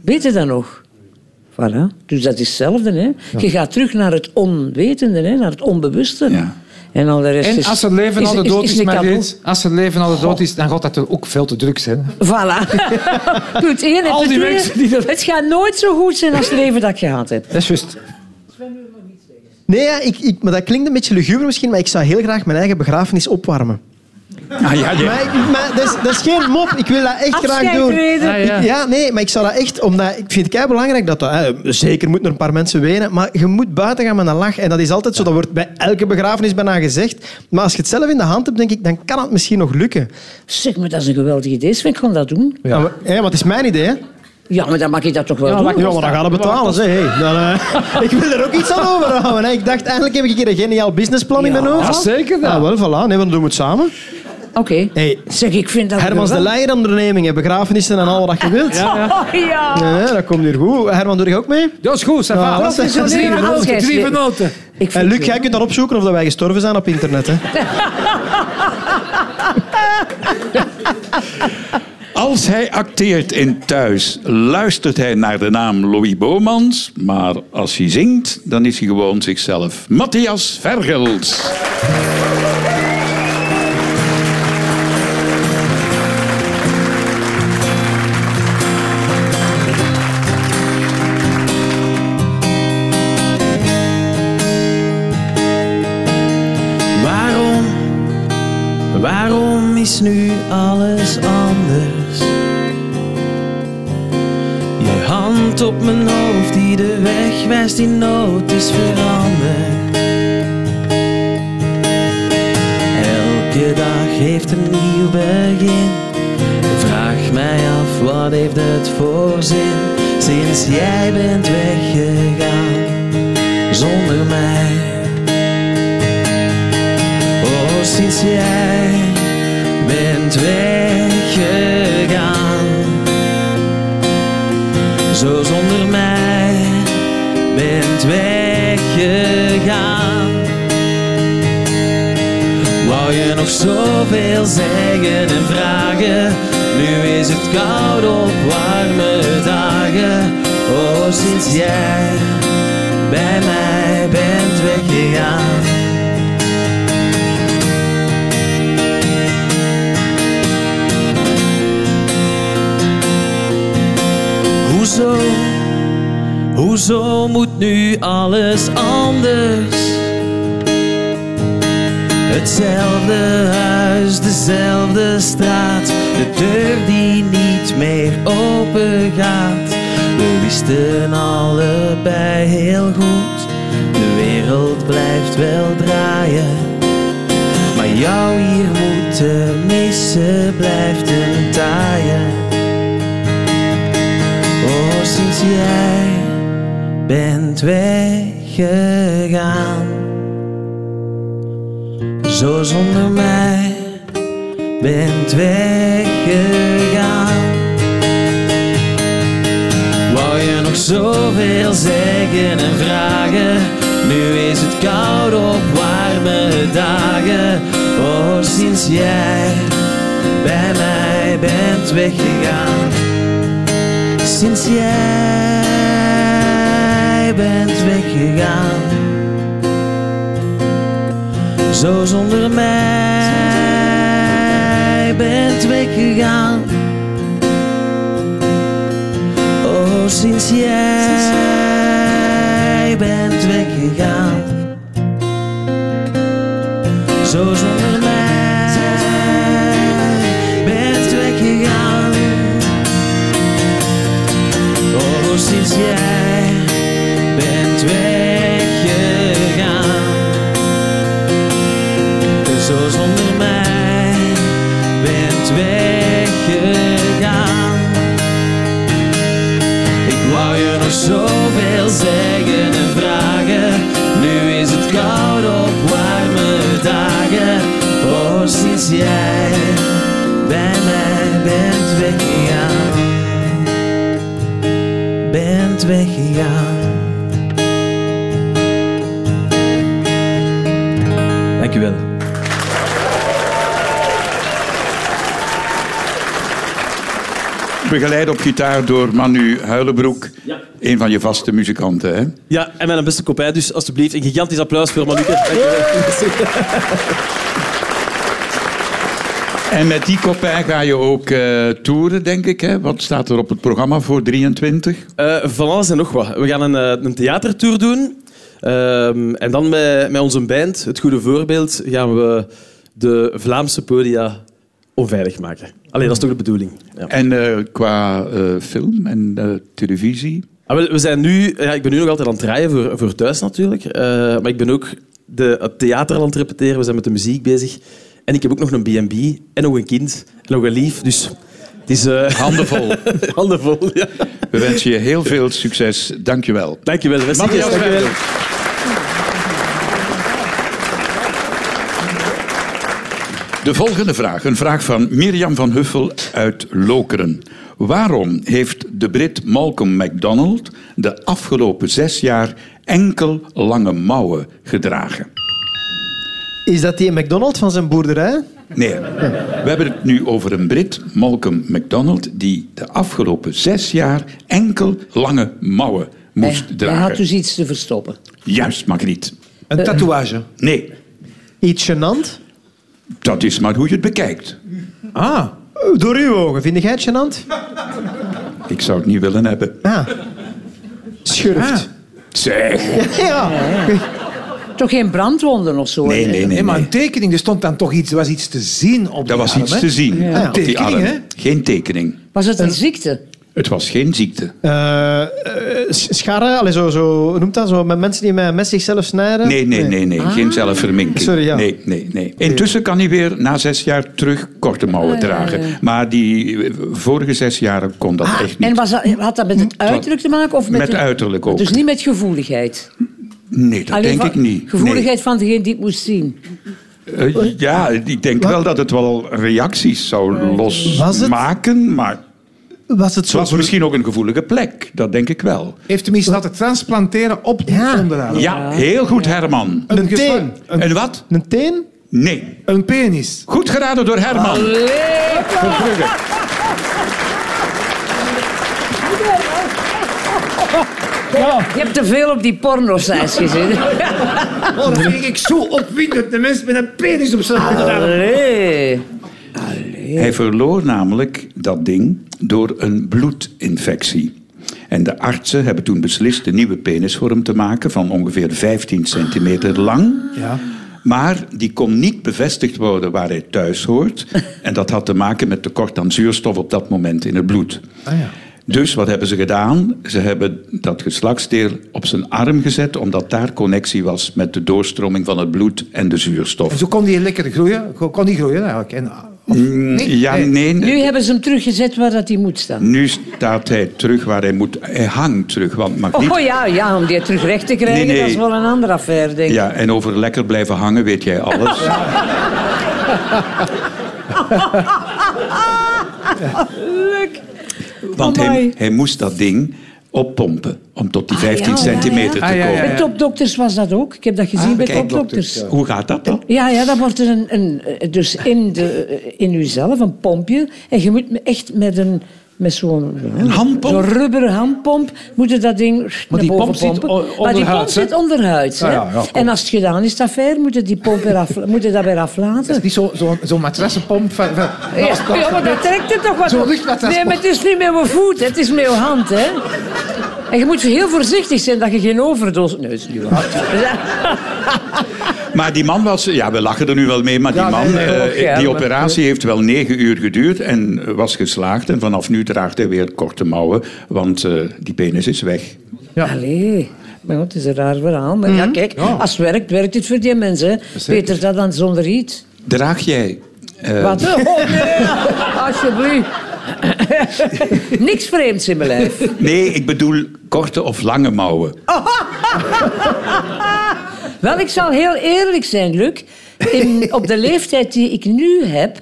S7: Weet je dat nog? Voilà. Dus dat is hetzelfde. Hè? Je gaat terug naar het onwetende, hè? naar het onbewuste.
S4: Ja.
S7: En al de rest
S6: En
S7: is...
S6: als er leven na de dood is,
S7: een
S6: Margriet, als er leven na de dood is, dan gaat dat er ook veel te druk zijn.
S7: Voilà.
S6: [LAUGHS]
S7: Goed, één en
S6: Al die
S7: twee.
S6: mensen die dat-
S7: Het gaat nooit zo goed zijn als het leven dat ik gehad heb.
S6: Dat is juist.
S5: Nee, ja, ik, ik, maar dat klinkt een beetje luguber misschien, maar ik zou heel graag mijn eigen begrafenis opwarmen.
S4: Ah, ja, ja.
S5: Maar, ik- maar dat, is, dat is geen mop. Ik wil dat echt graag doen.
S7: Afscheidreden.
S6: Ah, ja.
S5: Ik- ja, nee, maar ik zou dat echt, omdat ik vind het belangrijk dat dat, hè, zeker moeten er een paar mensen wenen, maar je moet buiten gaan met een lach. En dat is altijd zo, dat wordt bij elke begrafenis bijna gezegd. Maar als je het zelf in de hand hebt, denk ik, dan kan het misschien nog lukken.
S7: Zeg maar, dat is een geweldig idee. Sven, ik ga dat doen.
S5: Ja. maar, hè, want het is mijn idee, hè?
S7: Ja, maar dan mag ik dat toch wel doen.
S5: ja, maar dan gaan we betalen, zeg. Hey, dan, eh, [LAUGHS] ik wil er ook iets aan overhouden. Hè. Ik dacht, eindelijk heb ik hier een geniaal businessplan in
S7: Ja.
S5: mijn hoofd.
S6: Ja, zeker dan.
S5: Ah, wel, voilà. Nee, want dan doen we het samen.
S7: Oké.
S5: Hey.
S7: Zeg, ik vind dat...
S5: Hermans de
S7: geweldig.
S5: Leijer ondernemingen, begrafenissen en al wat je wilt. Ja,
S7: Oh, [LAUGHS] ja.
S5: dat komt hier goed. Herman, doe je ook mee?
S6: Dat is goed,
S5: Ja,
S6: Safa.
S5: dat is- dat is
S6: Drie
S5: een
S6: benoten,
S7: afscheid.
S6: drie benoten.
S7: Ik
S4: Eh,
S5: En
S7: vind
S5: Eh, Luc, jij kunt dan opzoeken of dat wij gestorven zijn op internet. Hè?
S4: Als hij acteert in Thuis, luistert hij naar de naam Louis Bomans. Maar als hij zingt, dan is hij gewoon zichzelf. Matthias Vergels.
S8: Waarom, waarom is nu alles anders? Je hand op mijn hoofd die de weg wijst in nood is veranderd. Elke dag heeft een nieuw begin. Vraag mij af wat heeft het voor zin sinds jij bent weggegaan zonder mij. Oh, sinds jij bent weggegaan. Zo zonder mij bent weggegaan. Wou je nog zoveel zeggen en vragen? Nu is het koud op warme dagen. Oh, sinds jij bij mij bent weggegaan. Hoezo? Hoezo moet nu alles anders? Hetzelfde huis, dezelfde straat, de deur die niet meer open gaat. We wisten allebei heel goed, de wereld blijft wel draaien. Maar jou hier moeten missen blijft een taaien. Oh, sinds jij bent weggegaan. Zo zonder mij bent weggegaan. Wou je nog zoveel zeggen en vragen? Nu is het koud op warme dagen. Oh, sinds jij bij mij bent weggegaan sinds jij bent weggegaan. Zo zonder mij bent weggegaan. Oh, sinds jij bent weggegaan. Zo zonder mij bent weggegaan. Oh, sinds jij bent weggegaan. Zo zonder mij bent weggegaan. Ik wou je nog zoveel zeggen en vragen. Nu is het koud jij bij mij bent weggegaan. Bent weggegaan. Dankjewel.
S4: Begeleid op gitaar door Manu Huilenbroek.
S8: Ja.
S4: Een van je vaste muzikanten, hè?
S8: Ja, en mijn beste kopij, dus alsjeblieft een gigantisch applaus voor Manuke. Dankjewel. [LAUGHS]
S4: En met die kopij ga je ook eh, toeren, denk ik. Hè? Wat staat er op het programma voor 23?
S8: Eh, van alles en nog wat. We gaan een, eh, een theatertour doen. Ehm, en dan met, met onze band, Het Goede Voorbeeld, gaan we de Vlaamse podia onveilig maken. Alleen dat is toch de bedoeling. Ja.
S4: En eh, qua eh, film en eh, televisie?
S8: Ah, wel, we zijn nu, ja, ik ben nu nog altijd aan het draaien voor, voor thuis natuurlijk. Eh, maar ik ben ook de, het theater aan het repeteren. We zijn met de muziek bezig. En ik heb ook nog een B&B en nog een kind en nog een lief. Dus het is
S4: [LAUGHS]
S8: eh,
S4: Handenvol.
S8: handenvol. Ja.
S4: We wensen je heel veel succes. Dank je wel.
S8: Dankjewel. Merci.
S4: Matthias
S8: Dankjewel.
S4: Wijndel. De volgende vraag, een vraag van Mirjam van Huffel uit Lokeren. Waarom heeft de Brit Malcolm MacDonald de afgelopen zes jaar enkel lange mouwen gedragen?
S5: Is dat die McDonald's van zijn boerderij?
S4: Nee, we hebben het nu over een Brit, Malcolm MacDonald, die de afgelopen zes jaar enkel lange mouwen moest
S7: Hij- Hij
S4: dragen.
S7: had dus iets te verstoppen.
S4: Juist, Margriet.
S6: Een tatoeage.
S4: Nee,
S5: Eh, Iets gênant?
S4: dat is maar hoe je het bekijkt.
S6: Ah.
S5: Eh, Door uw ogen, vind jij het gênant?
S4: Ik zou het niet willen hebben.
S5: Ah. Schurft.
S4: Zeg.
S5: Ja.
S7: Toch geen brandwonden of zo?
S4: Nee,
S7: hè?
S4: nee, nee.
S6: Nee, maar
S4: nee.
S6: een tekening, er stond dan toch iets, er was iets te zien op
S4: Er was iets te zien.
S5: Ja.
S4: op die
S6: Tekening,
S4: arm.
S6: hè?
S4: Geen tekening.
S7: Was het
S4: Eh,
S7: een ziekte?
S4: Het was geen ziekte.
S5: Eh, eh, s- scharren, allee, zo, zo, hoe noemt dat? Zo, met mensen die met een mes zichzelf snijden?
S4: Nee, nee, nee, nee. Geen zelfverminking.
S5: Sorry, ja.
S4: Nee, nee, nee. Intussen kan hij weer na zes jaar terug korte mouwen dragen. Maar die eh, vorige zes jaren kon dat echt niet. Mm,
S7: En was dat, had dat met het uiterlijk te maken? Of met
S4: Met
S7: het-
S4: uiterlijk ook.
S7: Dus niet met gevoeligheid?
S4: Nee, dat
S7: Alleen
S4: denk
S7: van-
S4: ik niet.
S7: Gevoeligheid van degene die het moest zien.
S4: Nee. Eh, ja, ik denk wel dat het wel reacties zou
S5: Was het?
S4: losmaken, maar
S5: Was het
S4: het
S5: zo?
S4: was misschien ook een gevoelige plek. Dat denk ik wel.
S6: Heeft tenminste laten transplanteren op de
S5: Ja.
S6: onderarm.
S4: Ja, heel goed, Herman.
S5: Een teen.
S6: gevaar.
S5: Een,
S4: En wat?
S5: een teen?
S4: Nee.
S6: Een penis.
S4: Goed geraden door Herman. Verbrugge.
S7: Je hebt te veel op die porno-sites gezien.
S6: Oh, dat vind ik zo opwindend. De mensen met een penis op
S5: Ah.
S6: zijn
S7: Allee.
S4: Hij verloor namelijk dat ding door een bloedinfectie. En de artsen hebben toen beslist een nieuwe penis voor hem te maken van ongeveer 15 centimeter lang.
S6: Ja.
S4: Maar die kon niet bevestigd worden waar hij thuis hoort. En dat had te maken met tekort aan zuurstof op dat moment in het bloed.
S6: Ah,
S4: Dus wat hebben ze gedaan? Ze hebben dat geslachtsdeel op zijn arm gezet, omdat daar connectie was met de doorstroming van het bloed en de zuurstof.
S6: En zo kon die lekker groeien. Go- Kon die groeien eigenlijk. En, eh, of, nee?
S4: Mm, Ja, nee.
S7: Nu hebben ze hem teruggezet waar dat hij moet staan.
S4: Nu staat hij terug waar hij moet. Hij hangt terug, want mag niet.
S7: Oh ja, ja, om die terug recht te krijgen,
S4: Nee, nee.
S7: dat is wel een andere affaire, denk ik.
S4: Ja, en over lekker blijven hangen weet jij
S7: [LAUGHS]
S4: alles.
S7: Leuk.
S4: Want hij,
S7: Amai.
S4: hij moest dat ding oppompen om tot die
S7: Ah, ja,
S4: 15
S7: ja, ja.
S4: centimeter
S6: Ah,
S4: te
S6: ja, ja. Ah,
S4: komen.
S7: Bij topdokters was dat ook. Ik heb dat gezien bij topdokters.
S4: Hoe gaat dat dan?
S7: Ja, ja, dan wordt er een, een eh, dus in, de, eh, in uzelf een pompje. En je moet me- echt met een met zo'n
S4: handpomp?
S7: zo'n rubberen handpomp moet je dat ding naar
S6: die
S7: boven
S6: pomp zit
S7: pompen.
S6: o- onder
S7: maar die pomp
S6: huid, hè?
S7: zit onderhuid. hè?
S6: Ja, ja, ja, kom.
S7: en als het gedaan is, dat ver, moet je die pomp weer af, moet je dat weer
S6: Dat
S7: aflaten.
S6: is niet zo'n zo, zo matrassenpomp. Van, van,
S7: Ja, ja, maar dat trekt er toch wat
S6: Zo'n
S7: op.
S6: luchtmatras-
S7: Nee, maar het is niet met mijn voet, hè. het is met je hand. Hè. En je moet heel voorzichtig zijn dat je geen overdosis... Nee, dat is niet waar.
S4: Maar die man was, ja, we lachen er nu wel mee, maar die
S6: Ja,
S4: man,
S6: nee, nee,
S4: eh,
S7: ook, ja,
S4: die
S7: maar-
S4: operatie heeft wel negen uur geduurd en eh, was geslaagd. En vanaf nu draagt hij weer korte mouwen, want eh, die penis is weg.
S7: Allee. Maar ja, het is een raar verhaal. Maar Mhm. ja, kijk, als het werkt, werkt het voor die mensen. hè. Beter dat dan zonder iets.
S4: Draag jij? eh,
S7: Wat? Oh, nee. [LAUGHS] Alsjeblieft. [LAUGHS] Niks vreemds in mijn lijf.
S4: Nee, ik bedoel korte of lange
S6: Oh.
S4: mouwen.
S7: Wel, ik zal heel eerlijk zijn, Luc. in, op de leeftijd die ik nu heb,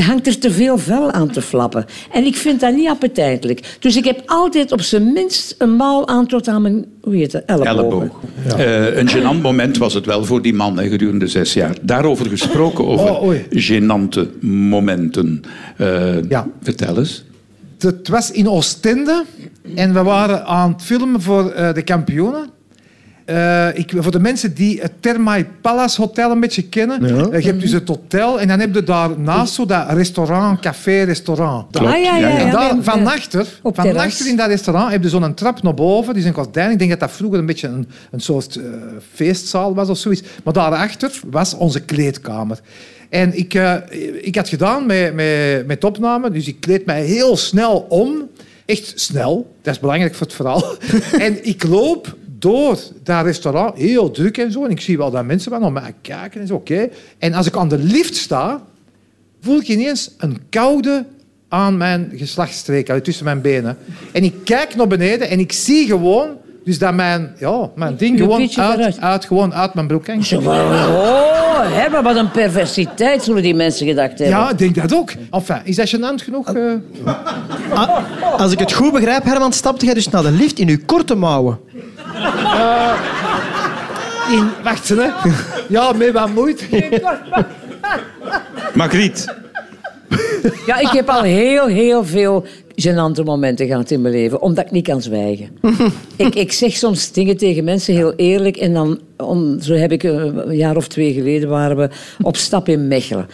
S7: hangt er te veel vel aan te flappen. En ik vind dat niet appetijtelijk. Dus ik heb altijd op zijn minst een mouw aan tot aan mijn hoe heet het, ellebogen.
S4: Elleboog. Eh, een gênant moment was het wel voor die man hè, gedurende zes jaar. Daarover gesproken, over
S6: Oh, oei.
S4: gênante momenten. Eh,
S6: Ja.
S4: Vertel eens.
S6: Het was in Oostende en we waren aan het filmen voor eh, de kampioenen. Eh, ik, voor de mensen die het Thermae Palace Hotel een beetje
S5: Ja.
S6: kennen. eh, je hebt dus het hotel en dan heb je daarnaast zo dat restaurant, café, restaurant.
S7: Ah, ja, ja, ja.
S6: en daar,
S7: Ja.
S6: van achter,
S7: Op
S6: van
S7: terras.
S6: achter in dat restaurant heb je zo'n trap naar boven. Die is een gordijn. Ik denk dat dat vroeger een beetje een, een soort eh, feestzaal was of zoiets. Maar daarachter was onze kleedkamer. En ik, eh, ik had gedaan met, met, met opname, dus ik kleed mij heel snel om. Echt snel, dat is belangrijk voor het verhaal.
S7: [LAUGHS]
S6: en ik loop door dat restaurant, heel druk en zo. En ik zie wel dat mensen van om mij kijken en zo. Oké. En als ik aan de lift sta, voel ik ineens een koude aan mijn geslachtsstreek, allee, tussen mijn benen. En ik kijk naar beneden en ik zie gewoon, dus dat mijn, ja, mijn ding
S7: Je
S6: gewoon
S7: pietje
S6: uit,
S7: eruit.
S6: uit, gewoon uit mijn broek hangt.
S7: Oh, hè, maar wat een perversiteit zullen die mensen gedacht hebben.
S6: Ja, ik denk dat ook. Enfin, is dat gênant genoeg? eh?
S5: Ah, als ik het goed begrijp, Herman, stapte jij dus naar de lift in uw korte mouwen.
S6: in, wacht, hè. Ja, met wat moeite.
S4: Margriet,
S7: Ja, ik heb al heel, heel veel gênante momenten gehad in mijn leven, omdat ik niet kan zwijgen. ik, ik zeg soms dingen tegen mensen heel eerlijk en dan, om, zo heb ik eh, een jaar of twee geleden, waren we op stap in Mechelen.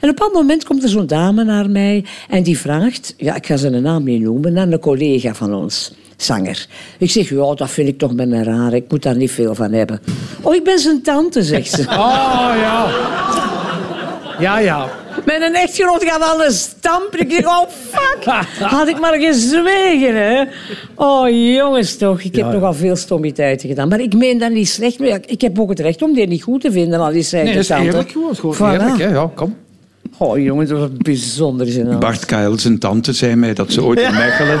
S7: En op een moment komt er zo'n dame naar mij en die vraagt, ja, ik ga zijn naam niet noemen, aan een collega van ons. Zanger. Ik zeg, ja, dat vind ik toch met een raar. Ik moet daar niet veel van hebben. Oh, ik ben zijn tante, zegt ze.
S6: Oh, ja. Ja, ja.
S7: Met een echtgenoot gaat alles stampen. Ik denk, oh
S6: [LAUGHS]
S7: fuck. Had ik maar gezwegen, hè. Oh jongens toch, ik heb nogal veel stommiteiten gedaan. Maar ik meen dat niet slecht. Maar ja, ik heb ook het recht om die niet goed te vinden, al is zij
S6: Nee,
S7: de
S6: dat is
S7: tante.
S6: eerlijk gewoon. Dat is gewoon
S7: Voilà.
S6: eerlijk, hè. Ja, kom.
S7: Oh jongens, dat was bijzonder nou. gênant.
S4: Bart Keil, zijn tante zei mij dat ze ooit in Mechelen...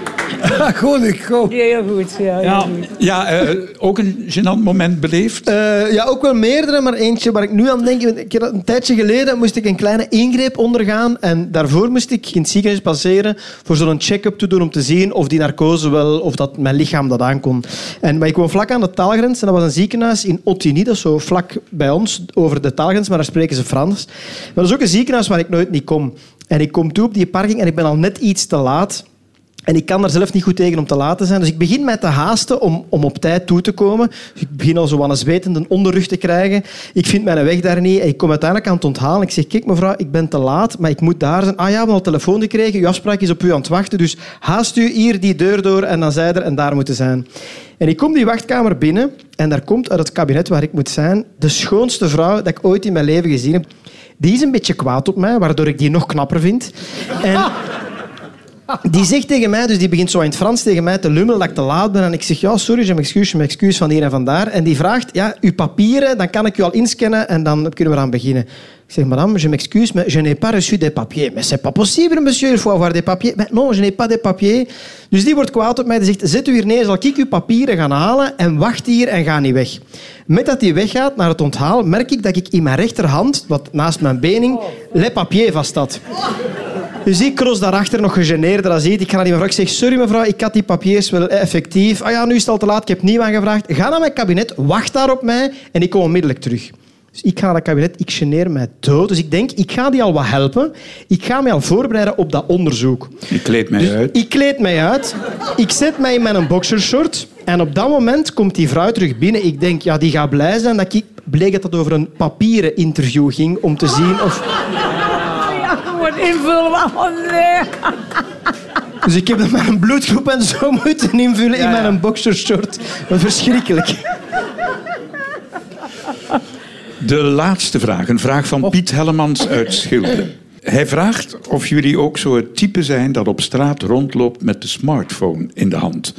S6: Goed, ik
S7: Ja, heel goed. Ja, heel goed.
S4: Ja, eh, ook een gênant moment beleefd.
S5: Eh, ja, ook wel meerdere, maar eentje waar ik nu aan denk. Ik heb dat een tijdje geleden moest ik een kleine ingreep ondergaan. En daarvoor moest ik in het ziekenhuis passeren voor zo'n check-up te doen om te zien of die narcose wel, of dat mijn lichaam dat aankon. En, maar ik woon vlak aan de taalgrens en dat was een ziekenhuis in Ottini, dat is zo vlak bij ons, over de taalgrens, maar daar spreken ze Frans. Maar dat is ook een ziekenhuis waar ik nooit niet kom. En ik kom toe op die parking en ik ben al net iets te laat. En ik kan daar zelf niet goed tegen om te laat te zijn. Dus ik begin met te haasten om, om op tijd toe te komen. Dus ik begin al zo aan een zwetende onderrug te krijgen. Ik vind mijn weg daar niet. En ik kom uiteindelijk aan het onthalen. Ik zeg, kijk mevrouw, ik ben te laat, maar ik moet daar zijn. Ah ja, we hebben al telefoon gekregen. Uw afspraak is op u aan het wachten. Dus haast u hier die deur door en dan zij er en daar moeten zijn. En ik kom die wachtkamer binnen en daar komt uit het kabinet waar ik moet zijn de schoonste vrouw dat ik ooit in mijn leven gezien heb. Die is een beetje kwaad op mij, waardoor ik die nog knapper vind. En... Die zegt tegen mij, dus die begint zo in het Frans tegen mij te lummelen dat ik te laat ben. En ik zeg, ja, sorry, je excuus, je excuus van hier en van daar. En die vraagt, ja, uw papieren, dan kan ik u al inscannen en dan kunnen we eraan beginnen. Ik zeg, madame, je m'excuse, mais je n'ai pas reçu des papiers. Mais c'est pas possible, monsieur, il faut avoir des papiers. Mais non, je n'ai pas des papiers. Dus die wordt kwaad op mij. Die zegt, zet u hier neer, zal ik uw papieren gaan halen en wacht hier en ga niet weg. Met dat hij weggaat naar het onthaal, merk ik dat ik in mijn rechterhand, wat naast mijn bening, les papiers vast had. Dus ik cross daarachter nog gegeneerder als ik. Ik ga naar die mevrouw. Ik zeg, sorry mevrouw, ik had die papiers wel effectief. Ah ja, nu is het al te laat. Ik heb nieuw aangevraagd. Ga naar mijn kabinet, wacht daar op mij en ik kom onmiddellijk terug. Dus ik ga naar het kabinet, ik geneer mij dood. Dus ik denk, ik ga die al wat helpen. Ik ga mij al voorbereiden op dat onderzoek. Dus
S4: Ik kleed mij uit.
S5: Ik kleed mij uit. Ik zet mij in mijn boxershort. En op dat moment komt die vrouw terug binnen. Ik denk, ja, die gaat blij zijn dat ik... Bleek dat het over een papieren interview ging om te zien of...
S7: Ja, gewoon invullen. Oh nee.
S5: Dus ik heb dan mijn bloedgroep en zo moeten invullen in mijn boxershort. Verschrikkelijk.
S4: De laatste vraag, een vraag van Piet Hellemans uit Schilden. Hij vraagt of jullie ook zo het type zijn dat op straat rondloopt met de smartphone in de hand.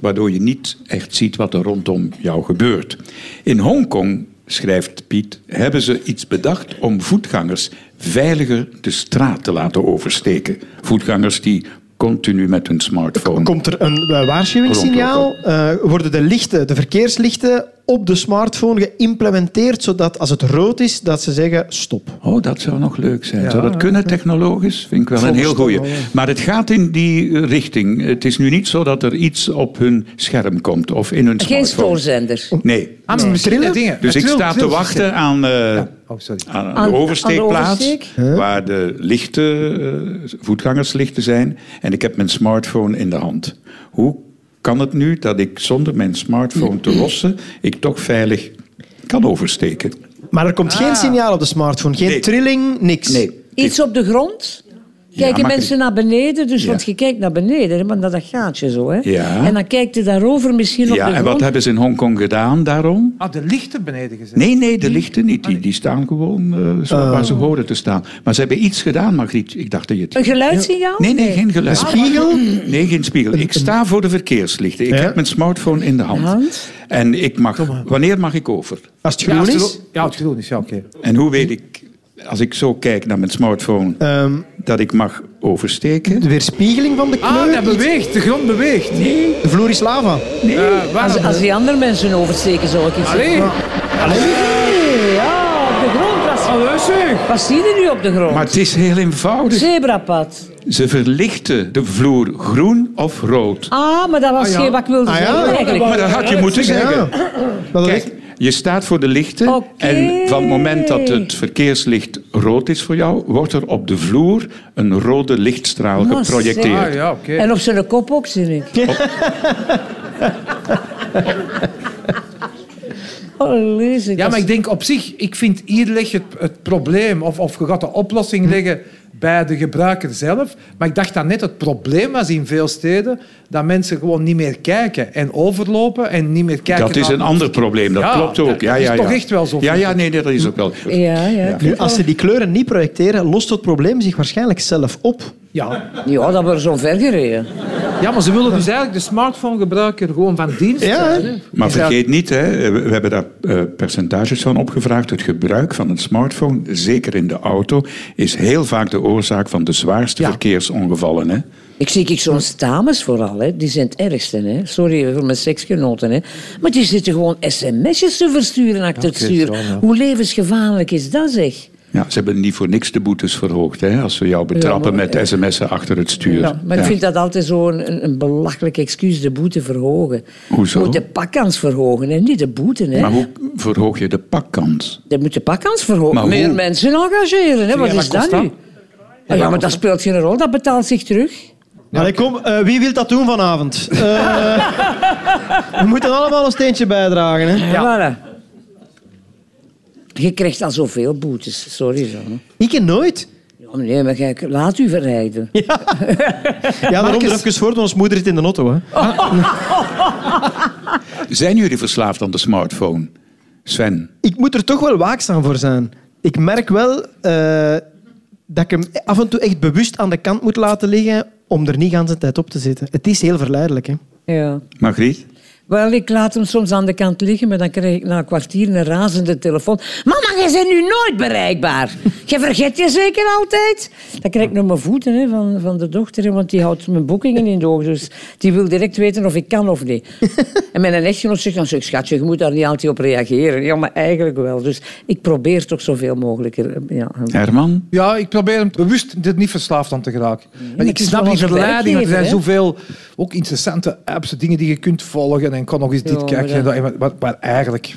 S4: Waardoor je niet echt ziet wat er rondom jou gebeurt. In Hongkong, schrijft Piet, hebben ze iets bedacht om voetgangers veiliger de straat te laten oversteken. Voetgangers die continu met hun smartphone.
S5: Komt er een eh, waarschuwingssignaal? Eh, worden de lichten, de verkeerslichten op de smartphone geïmplementeerd, zodat als het rood is, dat ze zeggen stop.
S4: Oh, dat zou nog leuk zijn. zou dat kunnen technologisch? Vind ik wel een heel goeie. Maar het gaat in die eh, richting. Het is nu niet zo dat er iets op hun scherm komt of in hun
S7: Geen
S4: smartphone. Oh,
S7: stoorzender.
S4: Nee.
S6: Ah, maar misschien
S5: Trillen?
S6: de dingen.
S4: Dus ik
S6: Het trilt,
S4: sta te
S6: trilt.
S4: wachten aan, eh,
S6: Oh, sorry.
S4: aan
S7: Aan-
S4: de oversteekplaats,
S7: aan de oversteek?
S4: waar de lichten, eh, voetgangerslichten zijn. En ik heb mijn smartphone in de hand. Hoe kan het nu dat ik zonder mijn smartphone te lossen, ik toch veilig kan oversteken?
S5: Maar er komt
S6: Ah.
S5: geen signaal op de smartphone, geen
S4: Nee.
S5: trilling, niks.
S7: Iets op de grond. Kijken
S4: maar-
S7: mensen naar beneden, dus,
S4: Ja.
S7: want je kijkt naar beneden, hè, maar naar dat gaatje zo. Hè.
S4: Ja.
S7: En dan kijkt je daarover misschien op de
S4: Ja, en
S7: grond.
S4: wat hebben ze in Hongkong gedaan daarom?
S6: Ah, de lichten beneden gezet.
S4: Nee, nee, de lichten niet. Die, die staan gewoon eh, zo waar ze horen te staan. Maar ze hebben iets gedaan, Margriet. Ik dacht dat je
S7: Een
S4: het...
S7: geluidssignaal?
S4: Nee, nee, geen geluid.
S5: Een spiegel?
S4: Nee, geen spiegel. Ik sta voor de verkeerslichten. Ik
S5: Ja.
S4: heb mijn smartphone in de hand.
S7: Hand.
S4: En ik mag... Wanneer mag ik over?
S5: Als het
S6: Ja,
S5: groen
S6: als het
S5: is,
S6: gro- Ja, het groen is, ja, oké.
S4: En hoe weet ik, als ik zo kijk naar mijn smartphone,
S5: ehm,
S4: dat ik mag oversteken?
S5: de weerspiegeling van de
S6: Ah,
S5: kleur,
S6: dat beweegt. De grond beweegt.
S4: Nee,
S5: de vloer is lava.
S4: nee.
S6: Eh, waar-
S7: Als, als die andere mensen oversteken, zou ik iets
S6: Allee.
S7: zeggen. Allee, ja, op de grond. Was,
S6: Allee, zeg.
S7: wat zie je nu op de grond?
S4: Maar het is heel eenvoudig.
S7: Zebrapad.
S4: Ze verlichten de vloer groen of rood.
S7: Ah, maar dat was geen wat ik wilde
S5: Ah, ja?
S7: zeggen eigenlijk.
S4: Maar dat had je moeten zeggen.
S5: Ja. Dat is-
S4: Kijk, je staat voor de lichten
S7: Oké.
S4: en van het moment dat het verkeerslicht rood is voor jou, wordt er op de vloer een rode lichtstraal
S7: Maar
S4: geprojecteerd.
S6: Ah, ja, oké.
S7: En op zijn kop ook, zie ik. [LAUGHS] Allee, zeg,
S6: Ja, maar ik denk op zich, ik vind hier leg je het, het probleem, of, of je gaat de oplossing leggen bij de gebruiker zelf. Maar ik dacht dat net het probleem was in veel steden, dat mensen gewoon niet meer kijken en overlopen en niet meer kijken
S4: Dat is
S6: naar-
S4: een ander probleem, dat
S6: Ja,
S4: klopt ook.
S6: dat
S4: Ja,
S6: is
S4: ja, ja.
S6: toch echt wel zo,
S4: Ja,
S6: vind
S4: ja, nee, nee, dat is ook wel. goed.
S7: Ja, ja.
S5: Nu, als ze die kleuren niet projecteren, lost het probleem zich waarschijnlijk zelf op.
S6: Ja.
S7: ja, dat we zo ver gereden.
S6: ja, maar ze willen dus eigenlijk de smartphone-gebruiker gewoon van dienst
S5: Ja,
S6: zijn,
S5: hè.
S6: hè.
S4: Maar
S6: Is dat-
S4: vergeet niet, hè, we we hebben daar eh, percentages van opgevraagd. Het gebruik van een smartphone, zeker in de auto, is heel vaak de oorzaak van de zwaarste
S6: Ja.
S4: verkeersongevallen. Hè.
S7: Ik zie ik zo'n dames vooral, hè. die zijn het ergste. Hè. Sorry voor mijn seksgenoten. Hè. Maar die zitten gewoon sms'jes te versturen achter het
S6: oké,
S7: stuur.
S6: zo, ja.
S7: Hoe levensgevaarlijk is dat, zeg?
S4: Ja, ze hebben niet voor niks de boetes verhoogd, hè, als ze jou betrappen
S7: maar- eh,
S4: met sms'en achter het stuur.
S7: Ja, maar ik
S4: Ja.
S7: vind dat altijd zo'n een, een belachelijk excuus, de boete verhogen.
S4: Hoezo?
S7: Je moet de pakkans verhogen en niet de boete. Hè.
S4: Maar hoe verhoog je de pakkans?
S7: Je moet de pakkans
S4: Maar
S7: verhogen.
S4: hoe?
S7: Meer mensen engageren. Hè. Wat
S6: Ja, maar
S7: is dat
S6: kost
S7: nu?
S6: dat?
S7: Ah, ja, maar dat speelt geen rol. Dat betaalt zich terug.
S5: Allee, kom, eh, wie wil dat doen vanavond? Eh, [LAUGHS] we moeten allemaal een steentje bijdragen. Hè?
S7: Voilà. Je krijgt al zoveel boetes. Sorry, zo.
S5: Ik ken nooit.
S7: Ja, meneer, maar kijk, laat u verrijden.
S5: Ja, daarom er even voor, want ons moeder zit in de auto. Hè.
S4: Zijn jullie verslaafd aan de smartphone? Sven,
S5: Ik moet er toch wel waakzaam voor zijn. Ik merk wel eh, dat ik hem af en toe echt bewust aan de kant moet laten liggen om er niet de hele tijd op te zitten. Het is heel verleidelijk. Hè?
S7: Ja.
S4: Margriet?
S7: Wel, ik laat hem soms aan de kant liggen, maar dan krijg ik na een kwartier een razende telefoon. Mama, jij bent nu nooit bereikbaar. Je vergeet je zeker altijd? Dan krijg ik nog mijn voeten hè, van, van de dochter, hè, want die houdt mijn boekingen in de ogen. Dus die wil direct weten of ik kan of niet. en mijn echtgenoot zegt dan, zeg, schatje, je moet daar niet altijd op reageren. Ja, maar eigenlijk wel. Dus ik probeer toch zoveel mogelijk. eh, Ja.
S4: Herman?
S6: Ja, ik probeer hem bewust er niet verslaafd aan te geraken. Want ik
S7: het is
S6: snap
S7: wel
S6: die
S7: als
S6: verleiding. want Er zijn
S7: werkgever, hè?
S6: zoveel ook interessante apps, dingen die je kunt volgen. En kan nog eens dit
S7: Ja,
S6: kijken. en
S7: maar
S6: dat- Maar, maar, maar eigenlijk...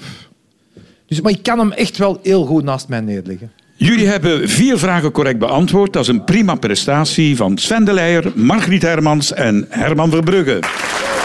S6: Dus, maar ik kan hem echt wel heel goed naast mij neerleggen.
S4: Jullie hebben vier vragen correct beantwoord. Dat is een prima prestatie van Sven de Leijer, Margriet Hermans en Herman Verbrugge.